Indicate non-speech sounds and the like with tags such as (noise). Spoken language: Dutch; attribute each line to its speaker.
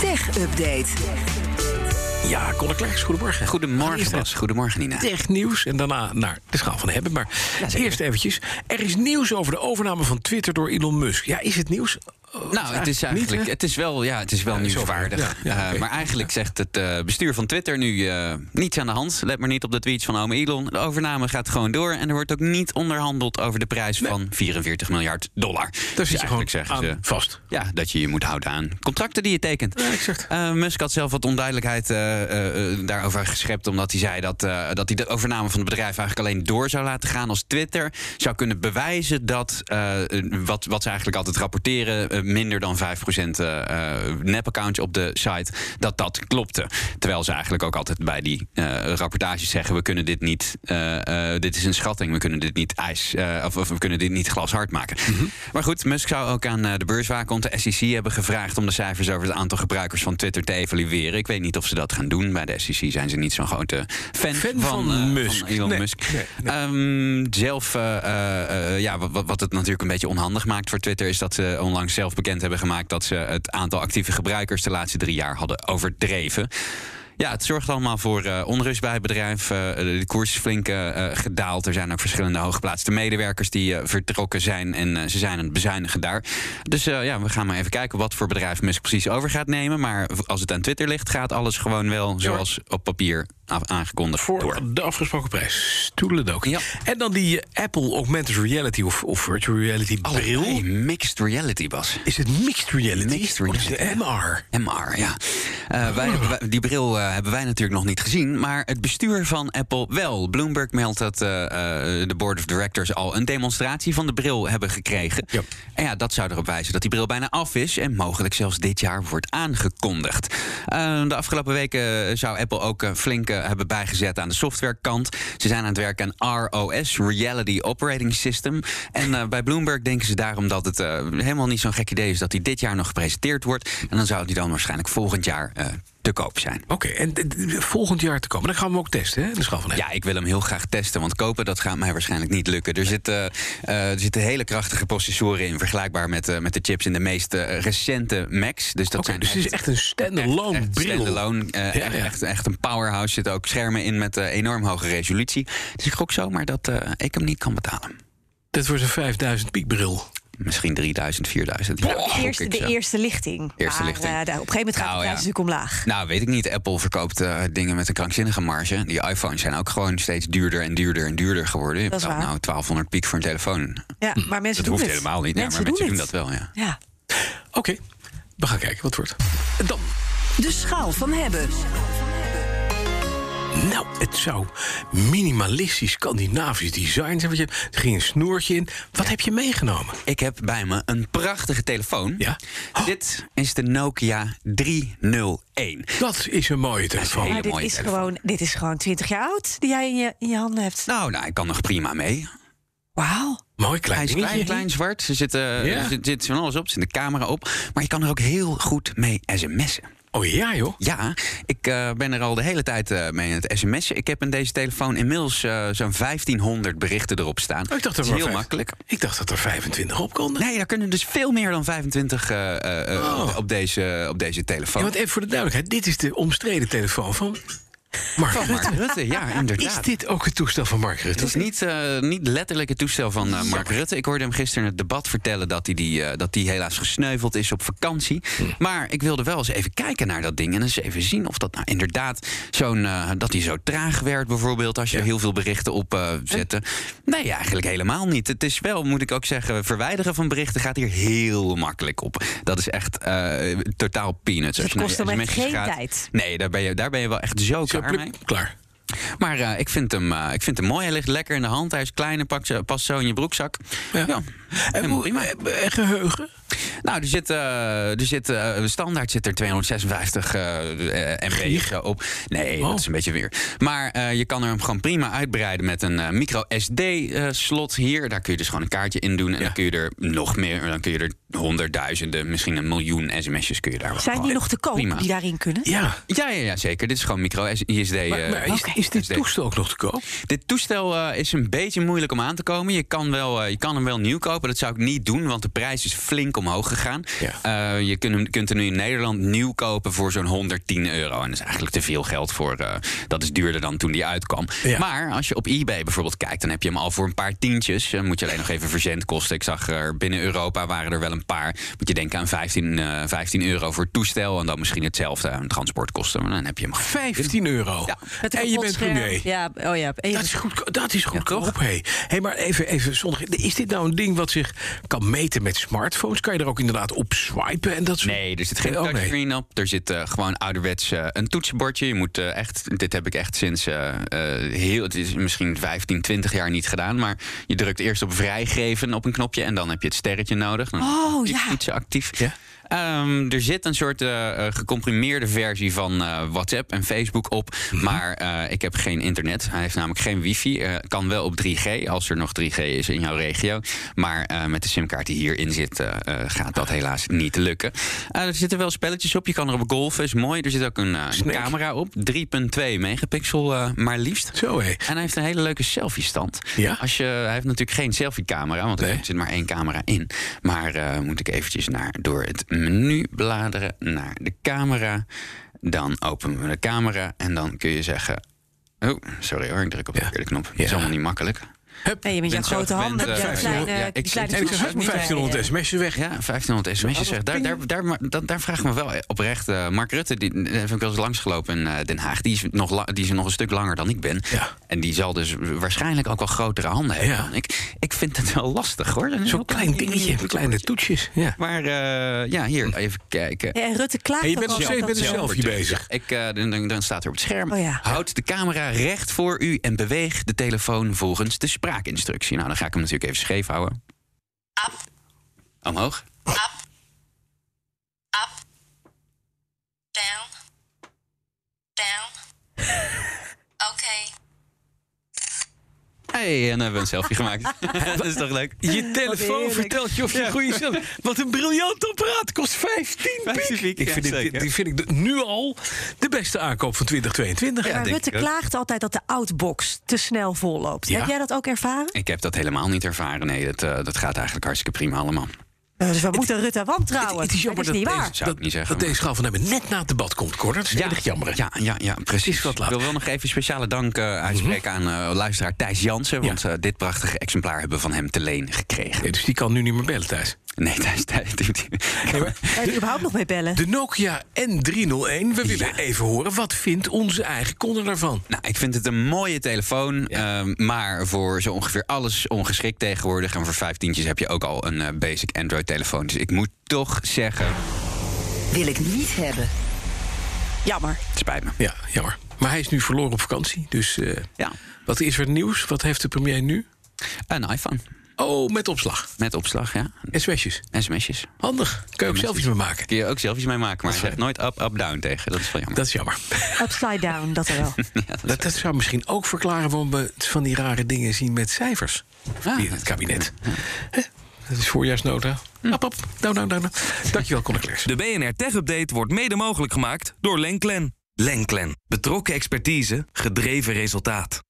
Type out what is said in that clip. Speaker 1: Tech-update.
Speaker 2: Ja, Conor Klerks, goedemorgen.
Speaker 3: Goedemorgen,
Speaker 2: Allereerst
Speaker 3: Bas. Goedemorgen, Nina.
Speaker 2: Technieuws en daarna naar de schaal van hebben. Maar eerst eventjes. Er is nieuws over de overname van Twitter door Elon Musk. Ja, is het nieuws?
Speaker 3: Nou, het is
Speaker 2: Niet,
Speaker 3: eigenlijk.
Speaker 2: hè?
Speaker 3: het is wel, ja, het is wel
Speaker 2: Ja, is
Speaker 3: nieuwswaardig.
Speaker 2: over, ja. Ja,
Speaker 3: Eh,
Speaker 2: oké.
Speaker 3: maar eigenlijk zegt het eh, bestuur van Twitter nu eh, niets aan de hand. Let maar niet op de tweets van ome Elon. De overname gaat gewoon door. En er wordt ook niet onderhandeld over de prijs van 44 miljard dollar. Dus
Speaker 2: Daar zit je gewoon
Speaker 3: eigenlijk zeggen
Speaker 2: aan
Speaker 3: ze-
Speaker 2: vast.
Speaker 3: Ja, dat je je moet houden aan contracten die je tekent.
Speaker 2: Ja, ik zeg het.
Speaker 3: Eh, Musk had zelf wat onduidelijkheid eh, eh, eh, daarover geschept. Omdat hij zei dat, eh, dat hij de overname van het bedrijf eigenlijk alleen door zou laten gaan als Twitter zou kunnen bewijzen dat eh, wat, wat ze eigenlijk altijd rapporteren, eh, minder dan 5% eh eh, nep-accounts op de site, dat dat klopte. Terwijl ze eigenlijk ook altijd bij die eh, rapportages zeggen: we kunnen dit niet, eh, eh, dit is een schatting, we kunnen dit niet ijs, eh, of, of we kunnen dit niet glashard maken.
Speaker 2: Mhm.
Speaker 3: Maar goed, Musk zou ook aan eh, de beurswaakhond, de SEC, hebben gevraagd om de cijfers over het aantal gebruikers van Twitter te evalueren. Ik weet niet of ze dat gaan doen. Bij de SEC zijn ze niet zo'n grote fan,
Speaker 2: Fan
Speaker 3: van,
Speaker 2: van
Speaker 3: eh,
Speaker 2: Musk.
Speaker 3: van Elon
Speaker 2: Nee,
Speaker 3: Musk.
Speaker 2: nee,
Speaker 3: Ehm, zelf, eh, eh, eh, ja, wat- wat, wat het natuurlijk een beetje onhandig maakt voor Twitter, is dat ze onlangs zelf bekend hebben gemaakt dat ze het aantal actieve gebruikers de laatste drie jaar hadden overdreven. Ja, het zorgt allemaal voor eh, onrust bij het bedrijf. Eh, de koers is flink eh, eh, gedaald. Er zijn ook verschillende hooggeplaatste medewerkers die eh, vertrokken zijn. En eh, ze zijn aan het bezuinigen daar. Dus eh, ja, we gaan maar even kijken wat voor bedrijf Musk precies over gaat nemen. Maar als het aan Twitter ligt, gaat alles gewoon wel zoals op papier a- aangekondigd
Speaker 2: Voor
Speaker 3: door.
Speaker 2: de afgesproken prijs. Toedeledook.
Speaker 3: Ja.
Speaker 2: En dan die eh, Apple Augmented Reality of, of Virtual Reality
Speaker 3: Oh,
Speaker 2: bril.
Speaker 3: Hey, mixed reality, Bas.
Speaker 2: Is het mixed reality?
Speaker 3: Mixed
Speaker 2: Of is het
Speaker 3: reality,
Speaker 2: MR?
Speaker 3: MR, ja. Eh, wij, wij- die bril eh, hebben wij natuurlijk nog niet gezien. Maar het bestuur van Apple wel. Bloomberg meldt dat eh, eh, de Board of Directors al een demonstratie van de bril hebben gekregen.
Speaker 2: Ja.
Speaker 3: En ja, dat zou erop wijzen dat die bril bijna af is. En mogelijk zelfs dit jaar wordt aangekondigd. Eh, de afgelopen weken zou Apple ook eh, flink eh, hebben bijgezet aan de softwarekant. Ze zijn aan het werken aan ROS, Reality Operating System. En eh, bij Bloomberg denken ze daarom dat het eh, helemaal niet zo'n gek idee is dat die dit jaar nog gepresenteerd wordt. En dan zou die dan waarschijnlijk volgend jaar eh, te koop zijn.
Speaker 2: Oké, en d- d- volgend jaar te komen. Dan gaan we hem ook testen, hè? in De schaal van
Speaker 3: Ja, ik wil hem heel graag testen, want kopen dat gaat mij waarschijnlijk niet lukken. Er zitten, eh, er zitten hele krachtige processoren in, vergelijkbaar met, eh, met de chips in de meest eh, recente Macs. Dus dat
Speaker 2: Oké,
Speaker 3: zijn
Speaker 2: dus het is echt een standalone
Speaker 3: echt
Speaker 2: bril.
Speaker 3: standalone, eh,
Speaker 2: Ja,
Speaker 3: echt,
Speaker 2: ja.
Speaker 3: Echt, echt een powerhouse. Zitten ook schermen in met eh, enorm hoge resolutie. Dus ik gok zomaar dat eh, ik hem niet kan betalen.
Speaker 2: Dit wordt een 5000 piekbril.
Speaker 3: Misschien 3000, 4000. Ja,
Speaker 4: De
Speaker 3: gok
Speaker 4: eerste,
Speaker 3: ik
Speaker 4: de
Speaker 3: zo.
Speaker 4: eerste lichting.
Speaker 3: Eerste
Speaker 4: maar,
Speaker 3: lichting.
Speaker 4: eh, daar- op een gegeven moment gaat
Speaker 3: Nou,
Speaker 4: de
Speaker 3: ja.
Speaker 4: prijs natuurlijk omlaag.
Speaker 3: Nou, weet ik niet. Apple verkoopt eh, dingen met een krankzinnige marge. Die iPhones zijn ook gewoon steeds duurder en duurder en duurder geworden. Je
Speaker 4: Dat is
Speaker 3: betaalt
Speaker 4: waar.
Speaker 3: nou 1200 piek voor een telefoon.
Speaker 4: Ja, maar
Speaker 3: Dat
Speaker 4: mensen doen
Speaker 3: hoeft
Speaker 4: het.
Speaker 3: helemaal niet. Ja, maar
Speaker 4: Mensen
Speaker 3: mensen
Speaker 4: doen
Speaker 3: doen
Speaker 4: het.
Speaker 3: dat wel, ja.
Speaker 4: Ja.
Speaker 2: Oké, we gaan kijken wat het wordt. En dan,
Speaker 1: De schaal van hebben.
Speaker 2: nou, het zou minimalistisch Scandinavisch design zijn. Want je, hebt- er ging een snoertje in. Wat heb je meegenomen?
Speaker 3: Ik heb bij me een prachtige telefoon.
Speaker 2: Ja. Oh.
Speaker 3: Dit is de Nokia 301.
Speaker 2: Dat is een mooie telefoon.
Speaker 3: Hele
Speaker 4: Maar dit
Speaker 3: mooie
Speaker 4: is,
Speaker 3: telefoon.
Speaker 4: gewoon, dit is gewoon 20 jaar oud die jij in je, in je handen hebt.
Speaker 3: Nou, nou, ik kan nog prima mee.
Speaker 4: Wauw.
Speaker 2: Mooi klein
Speaker 3: Hij is
Speaker 2: dingetje.
Speaker 3: klein, klein, zwart. Er zit, eh,
Speaker 2: Ja.
Speaker 3: er zit, zit van alles op. Er zit een camera op. Maar je kan er ook heel goed mee sms'en.
Speaker 2: Oh ja, joh.
Speaker 3: Ja, ik eh, ben er al de hele tijd eh, mee aan het sms'en. Ik heb in deze telefoon inmiddels eh, zo'n 1500 berichten erop staan.
Speaker 2: Oh, ik dacht
Speaker 3: dat
Speaker 2: er
Speaker 3: is
Speaker 2: maar
Speaker 3: heel
Speaker 2: vijf-
Speaker 3: makkelijk.
Speaker 2: Ik dacht dat er 25 op konden.
Speaker 3: Nee, daar kunnen dus veel meer dan 25 eh, eh, eh, op- op, deze, op deze telefoon.
Speaker 2: Oh. Ja, want even voor de duidelijkheid. Dit is de omstreden telefoon van Mark
Speaker 3: Van Mark
Speaker 2: Rutte.
Speaker 3: Rutte, ja, inderdaad.
Speaker 2: (laughs) Is dit ook het toestel van Mark Rutte?
Speaker 3: Het is niet, eh, niet letterlijk het toestel van eh, Mark Rutte. Ik hoorde hem gisteren in het debat vertellen dat hij, die, eh, dat die helaas gesneuveld is op vakantie. Maar ik wilde wel eens even kijken naar dat ding. En eens even zien of dat nou inderdaad zo'n. eh, dat hij zo traag werd, bijvoorbeeld. Als je
Speaker 2: Ja.
Speaker 3: heel veel berichten op eh, zette. Nee, eigenlijk helemaal niet. Het is wel, moet ik ook zeggen, verwijderen van berichten gaat hier heel makkelijk op. Dat is echt eh, totaal peanuts.
Speaker 4: het
Speaker 3: Als je naar
Speaker 4: kost
Speaker 3: die
Speaker 4: hem echt
Speaker 3: sms'jes
Speaker 4: geen
Speaker 3: gaat-
Speaker 4: tijd.
Speaker 3: Nee, daar ben, je, daar ben je wel echt zo
Speaker 2: Zo,
Speaker 3: klaar
Speaker 2: pluk,
Speaker 3: mee.
Speaker 2: klaar.
Speaker 3: Maar eh, ik, vind hem, eh, ik vind hem mooi. Hij ligt lekker in de hand. Hij is klein en pakt zo- past zo in je broekzak.
Speaker 2: Ja.
Speaker 3: Ja.
Speaker 2: En,
Speaker 3: Helemaal
Speaker 2: hoe-
Speaker 3: prima.
Speaker 2: en geheugen?
Speaker 3: Nou, er zit, eh, er zit eh, standaard zit er 256 eh, eh, MB
Speaker 2: Gig?
Speaker 3: op. Nee,
Speaker 2: Oh.
Speaker 3: dat is een beetje weer. Maar eh, je kan er hem gewoon prima uitbreiden met een eh, micro SD-slot hier. Daar kun je dus gewoon een kaartje in doen. En dan kun je er nog meer. Dan kun je er honderdduizenden, misschien een miljoen sms'jes kun je daar wel
Speaker 4: Zijn die
Speaker 3: gewoon-
Speaker 4: nog te koop
Speaker 3: prima.
Speaker 4: die daarin kunnen?
Speaker 2: Ja.
Speaker 3: Ja, ja, ja, zeker. Dit is gewoon micro ISD. eh,
Speaker 2: Maar, maar is, is dit
Speaker 3: SD.
Speaker 2: toestel ook nog te koop?
Speaker 3: Dit toestel eh, is een beetje moeilijk om aan te komen. Je kan, wel, eh, je kan hem wel nieuw kopen. Dat zou ik niet doen, want de prijs is flink omhoog gegaan.
Speaker 2: Ja.
Speaker 3: Eh, je kunt, hem- kunt hem nu in Nederland nieuw kopen voor zo'n 110 euro. En dat is eigenlijk te veel geld voor. eh, dat is duurder dan toen die uitkwam.
Speaker 2: Ja.
Speaker 3: Maar als je op eBay bijvoorbeeld kijkt, dan heb je hem al voor een paar tientjes. Dan moet je alleen nog even verzendkosten. Ik zag er binnen Europa waren er wel een paar. Moet je denken aan 15, eh, 15 euro voor toestel. En dan misschien hetzelfde aan transportkosten. Maar dan heb je hem.
Speaker 2: 15 euro.
Speaker 3: Ja. eh,
Speaker 4: Met een
Speaker 2: En je bent
Speaker 4: rotscherm.
Speaker 2: premier.
Speaker 4: Ja, oh ja. even-
Speaker 2: Dat is, goedko- dat is goedkoop, hé. Hé, maar even, even zondag. Is dit nou een ding wat zich kan meten met smartphones? Kan je er ook inderdaad op swipen en dat soort...
Speaker 3: Nee, er zit geen
Speaker 2: Oh, nee.
Speaker 3: touchscreen op. Er zit eh, gewoon ouderwets eh, een toetsenbordje. Je moet eh, echt, dit heb ik echt sinds eh, eh, heel, het is misschien 15, 20 jaar niet gedaan. Maar je drukt eerst op vrijgeven op een knopje en dan heb je het sterretje nodig. Dan
Speaker 4: Oh,
Speaker 3: is
Speaker 4: ja.
Speaker 3: toetsen actief.
Speaker 2: Ja.
Speaker 3: Ehm, er zit een soort eh, eh, gecomprimeerde versie van eh, WhatsApp en Facebook op.
Speaker 2: Mhm.
Speaker 3: Maar eh, ik heb geen internet. Hij heeft namelijk geen wifi. Eh, kan wel op 3G, als er nog 3G is in jouw regio. Maar eh, met de simkaart die hierin zit, eh, eh, gaat dat helaas niet lukken. Eh, er zitten wel spelletjes op. Je kan erop golfen, is mooi. Er zit ook een, eh, een
Speaker 2: Snake.
Speaker 3: camera op. 3.2 megapixel, eh, maar liefst.
Speaker 2: Zo, hé.
Speaker 3: En hij heeft een hele leuke selfie-stand.
Speaker 2: Ja?
Speaker 3: Als je, hij heeft natuurlijk geen selfie-camera, want
Speaker 2: Nee.
Speaker 3: er zit maar één camera in. Maar eh, moet ik eventjes naar, door het menu bladeren naar de camera. Dan openen we de camera en dan kun je zeggen... Oh, sorry hoor, ik druk op de
Speaker 2: Ja.
Speaker 3: verkeerde knop. Dat
Speaker 2: Ja.
Speaker 3: is allemaal niet makkelijk.
Speaker 2: Hup.
Speaker 4: Nee, je bent jouw
Speaker 3: bent zo
Speaker 4: grote
Speaker 3: gewend,
Speaker 4: handen.
Speaker 3: eh,
Speaker 4: hebt jouw
Speaker 3: ja,
Speaker 4: kleine,
Speaker 3: ja, ik
Speaker 4: die kleine
Speaker 3: zit-
Speaker 2: En ik zeg,
Speaker 4: voetjes
Speaker 2: hup,
Speaker 4: niet bij,
Speaker 2: 1500
Speaker 4: eh.
Speaker 2: sms'jes weg.
Speaker 3: Ja, 1500 sms'jes weg. Daar, daar, daar, daar, daar, daar vraag ik me wel oprecht. eh, Mark Rutte, die, die heb ik wel eens langsgelopen in eh, Den Haag. Die is, nog la- die is nog een stuk langer dan ik ben.
Speaker 2: Ja.
Speaker 3: En die zal dus waarschijnlijk ook wel grotere handen hebben
Speaker 2: Ja.
Speaker 3: dan ik. Ik vind het wel lastig hoor. Dat is
Speaker 2: Zo'n
Speaker 3: wel-
Speaker 2: klein dingetje, kleine toetsjes. Ja.
Speaker 3: Maar eh, ja, hier, even kijken.
Speaker 4: Ja, en Rutte klaagt
Speaker 2: En je
Speaker 4: ook
Speaker 2: bent nog
Speaker 4: altijd
Speaker 2: steeds met
Speaker 4: dat
Speaker 2: een
Speaker 4: ze-
Speaker 2: selfie bezig.
Speaker 3: Ik, eh, dan- dan, dan staat er op het scherm.
Speaker 4: Oh ja.
Speaker 3: Houd de camera recht voor u en beweeg de telefoon volgens de spraakinstructie. Nou, dan ga ik hem natuurlijk even scheef houden. Omhoog.
Speaker 5: Down. Down.
Speaker 4: (laughs)
Speaker 5: okay.
Speaker 3: hey, en dan hebben we een selfie
Speaker 2: (laughs)
Speaker 3: gemaakt. (laughs) Dat is toch leuk?
Speaker 2: Je telefoon
Speaker 4: heerlijk.
Speaker 2: vertelt je of je een goede zelf... Wat een briljant apparaat, kost 15
Speaker 3: 15
Speaker 2: piek.
Speaker 3: piek,
Speaker 2: ik
Speaker 3: ja,
Speaker 2: vind dit,
Speaker 3: zeker.
Speaker 2: die vind ik de- nu al de beste aankoop van 2022.
Speaker 3: Ja,
Speaker 4: Maar
Speaker 3: denk
Speaker 4: Rutte
Speaker 3: ik ook.
Speaker 4: klaagt altijd dat de outbox te snel vol loopt.
Speaker 2: Ja.
Speaker 4: Heb jij dat ook ervaren?
Speaker 3: Ik heb dat helemaal niet ervaren. Nee, dat, eh, dat gaat eigenlijk hartstikke prima allemaal.
Speaker 4: Eh, Dus we moeten Rutte wantrouwen.
Speaker 2: Het is jammer
Speaker 4: dat is
Speaker 2: dat,
Speaker 4: niet
Speaker 2: deze,
Speaker 4: waar.
Speaker 3: Zou ik niet zeggen,
Speaker 2: dat
Speaker 3: maar-
Speaker 2: deze schaal van hebben net na het debat komt, Cor. Dat is erg jammer.
Speaker 3: Ja, ja, ja precies.
Speaker 2: wat
Speaker 3: Ik
Speaker 2: laat. Mhm.
Speaker 3: wil wel nog even speciale dank eh, uitspreken aan eh, luisteraar Thijs Jansen. Want eh, dit prachtige exemplaar hebben we van hem te leen gekregen.
Speaker 2: Nee, dus die kan nu niet meer bellen, Thijs.
Speaker 3: Nee, Thijs, Thijs doet
Speaker 2: Nee, maar
Speaker 4: Kan je er überhaupt nog mee bellen?
Speaker 2: De Nokia N301. We willen even horen, wat vindt onze eigen konde daarvan?
Speaker 3: (laughs) Nou, ik vind het een mooie telefoon. ehm, maar voor zo ongeveer alles ongeschikt tegenwoordig. En voor vijf tientjes heb je ook al een eh, basic Android-telefoon. Dus ik moet toch zeggen,
Speaker 1: Wil ik niet hebben.
Speaker 4: Jammer.
Speaker 3: het spijt me.
Speaker 2: Ja, jammer. Maar hij is nu verloren op vakantie. Dus eh,
Speaker 3: Ja,
Speaker 2: wat is er nieuws? Wat heeft de premier nu?
Speaker 3: een iPhone.
Speaker 2: Oh, met opslag.
Speaker 3: Met opslag, ja.
Speaker 2: SMS'jes.
Speaker 3: SMS'jes.
Speaker 2: Handig. Kun je ook selfies mee maken.
Speaker 3: Kun je ook zelfs iets mee maken. Maar je zegt nooit up, up, down tegen. Dat is wel jammer.
Speaker 2: Dat is jammer.
Speaker 4: Upside down, dat er wel.
Speaker 3: (laughs)
Speaker 2: Dat, dat zou misschien ook verklaren waarom we het van die rare dingen zien met cijfers.
Speaker 3: Ah.
Speaker 2: Hier in het kabinet. Hè? Dat is voorjaarsnota. Ap, ap. Nou, nou, nou, nou. Dankjewel, Conor Klers.
Speaker 6: De BNR Tech Update wordt mede mogelijk gemaakt door Lenklen. Lenklen. Betrokken expertise, gedreven resultaat.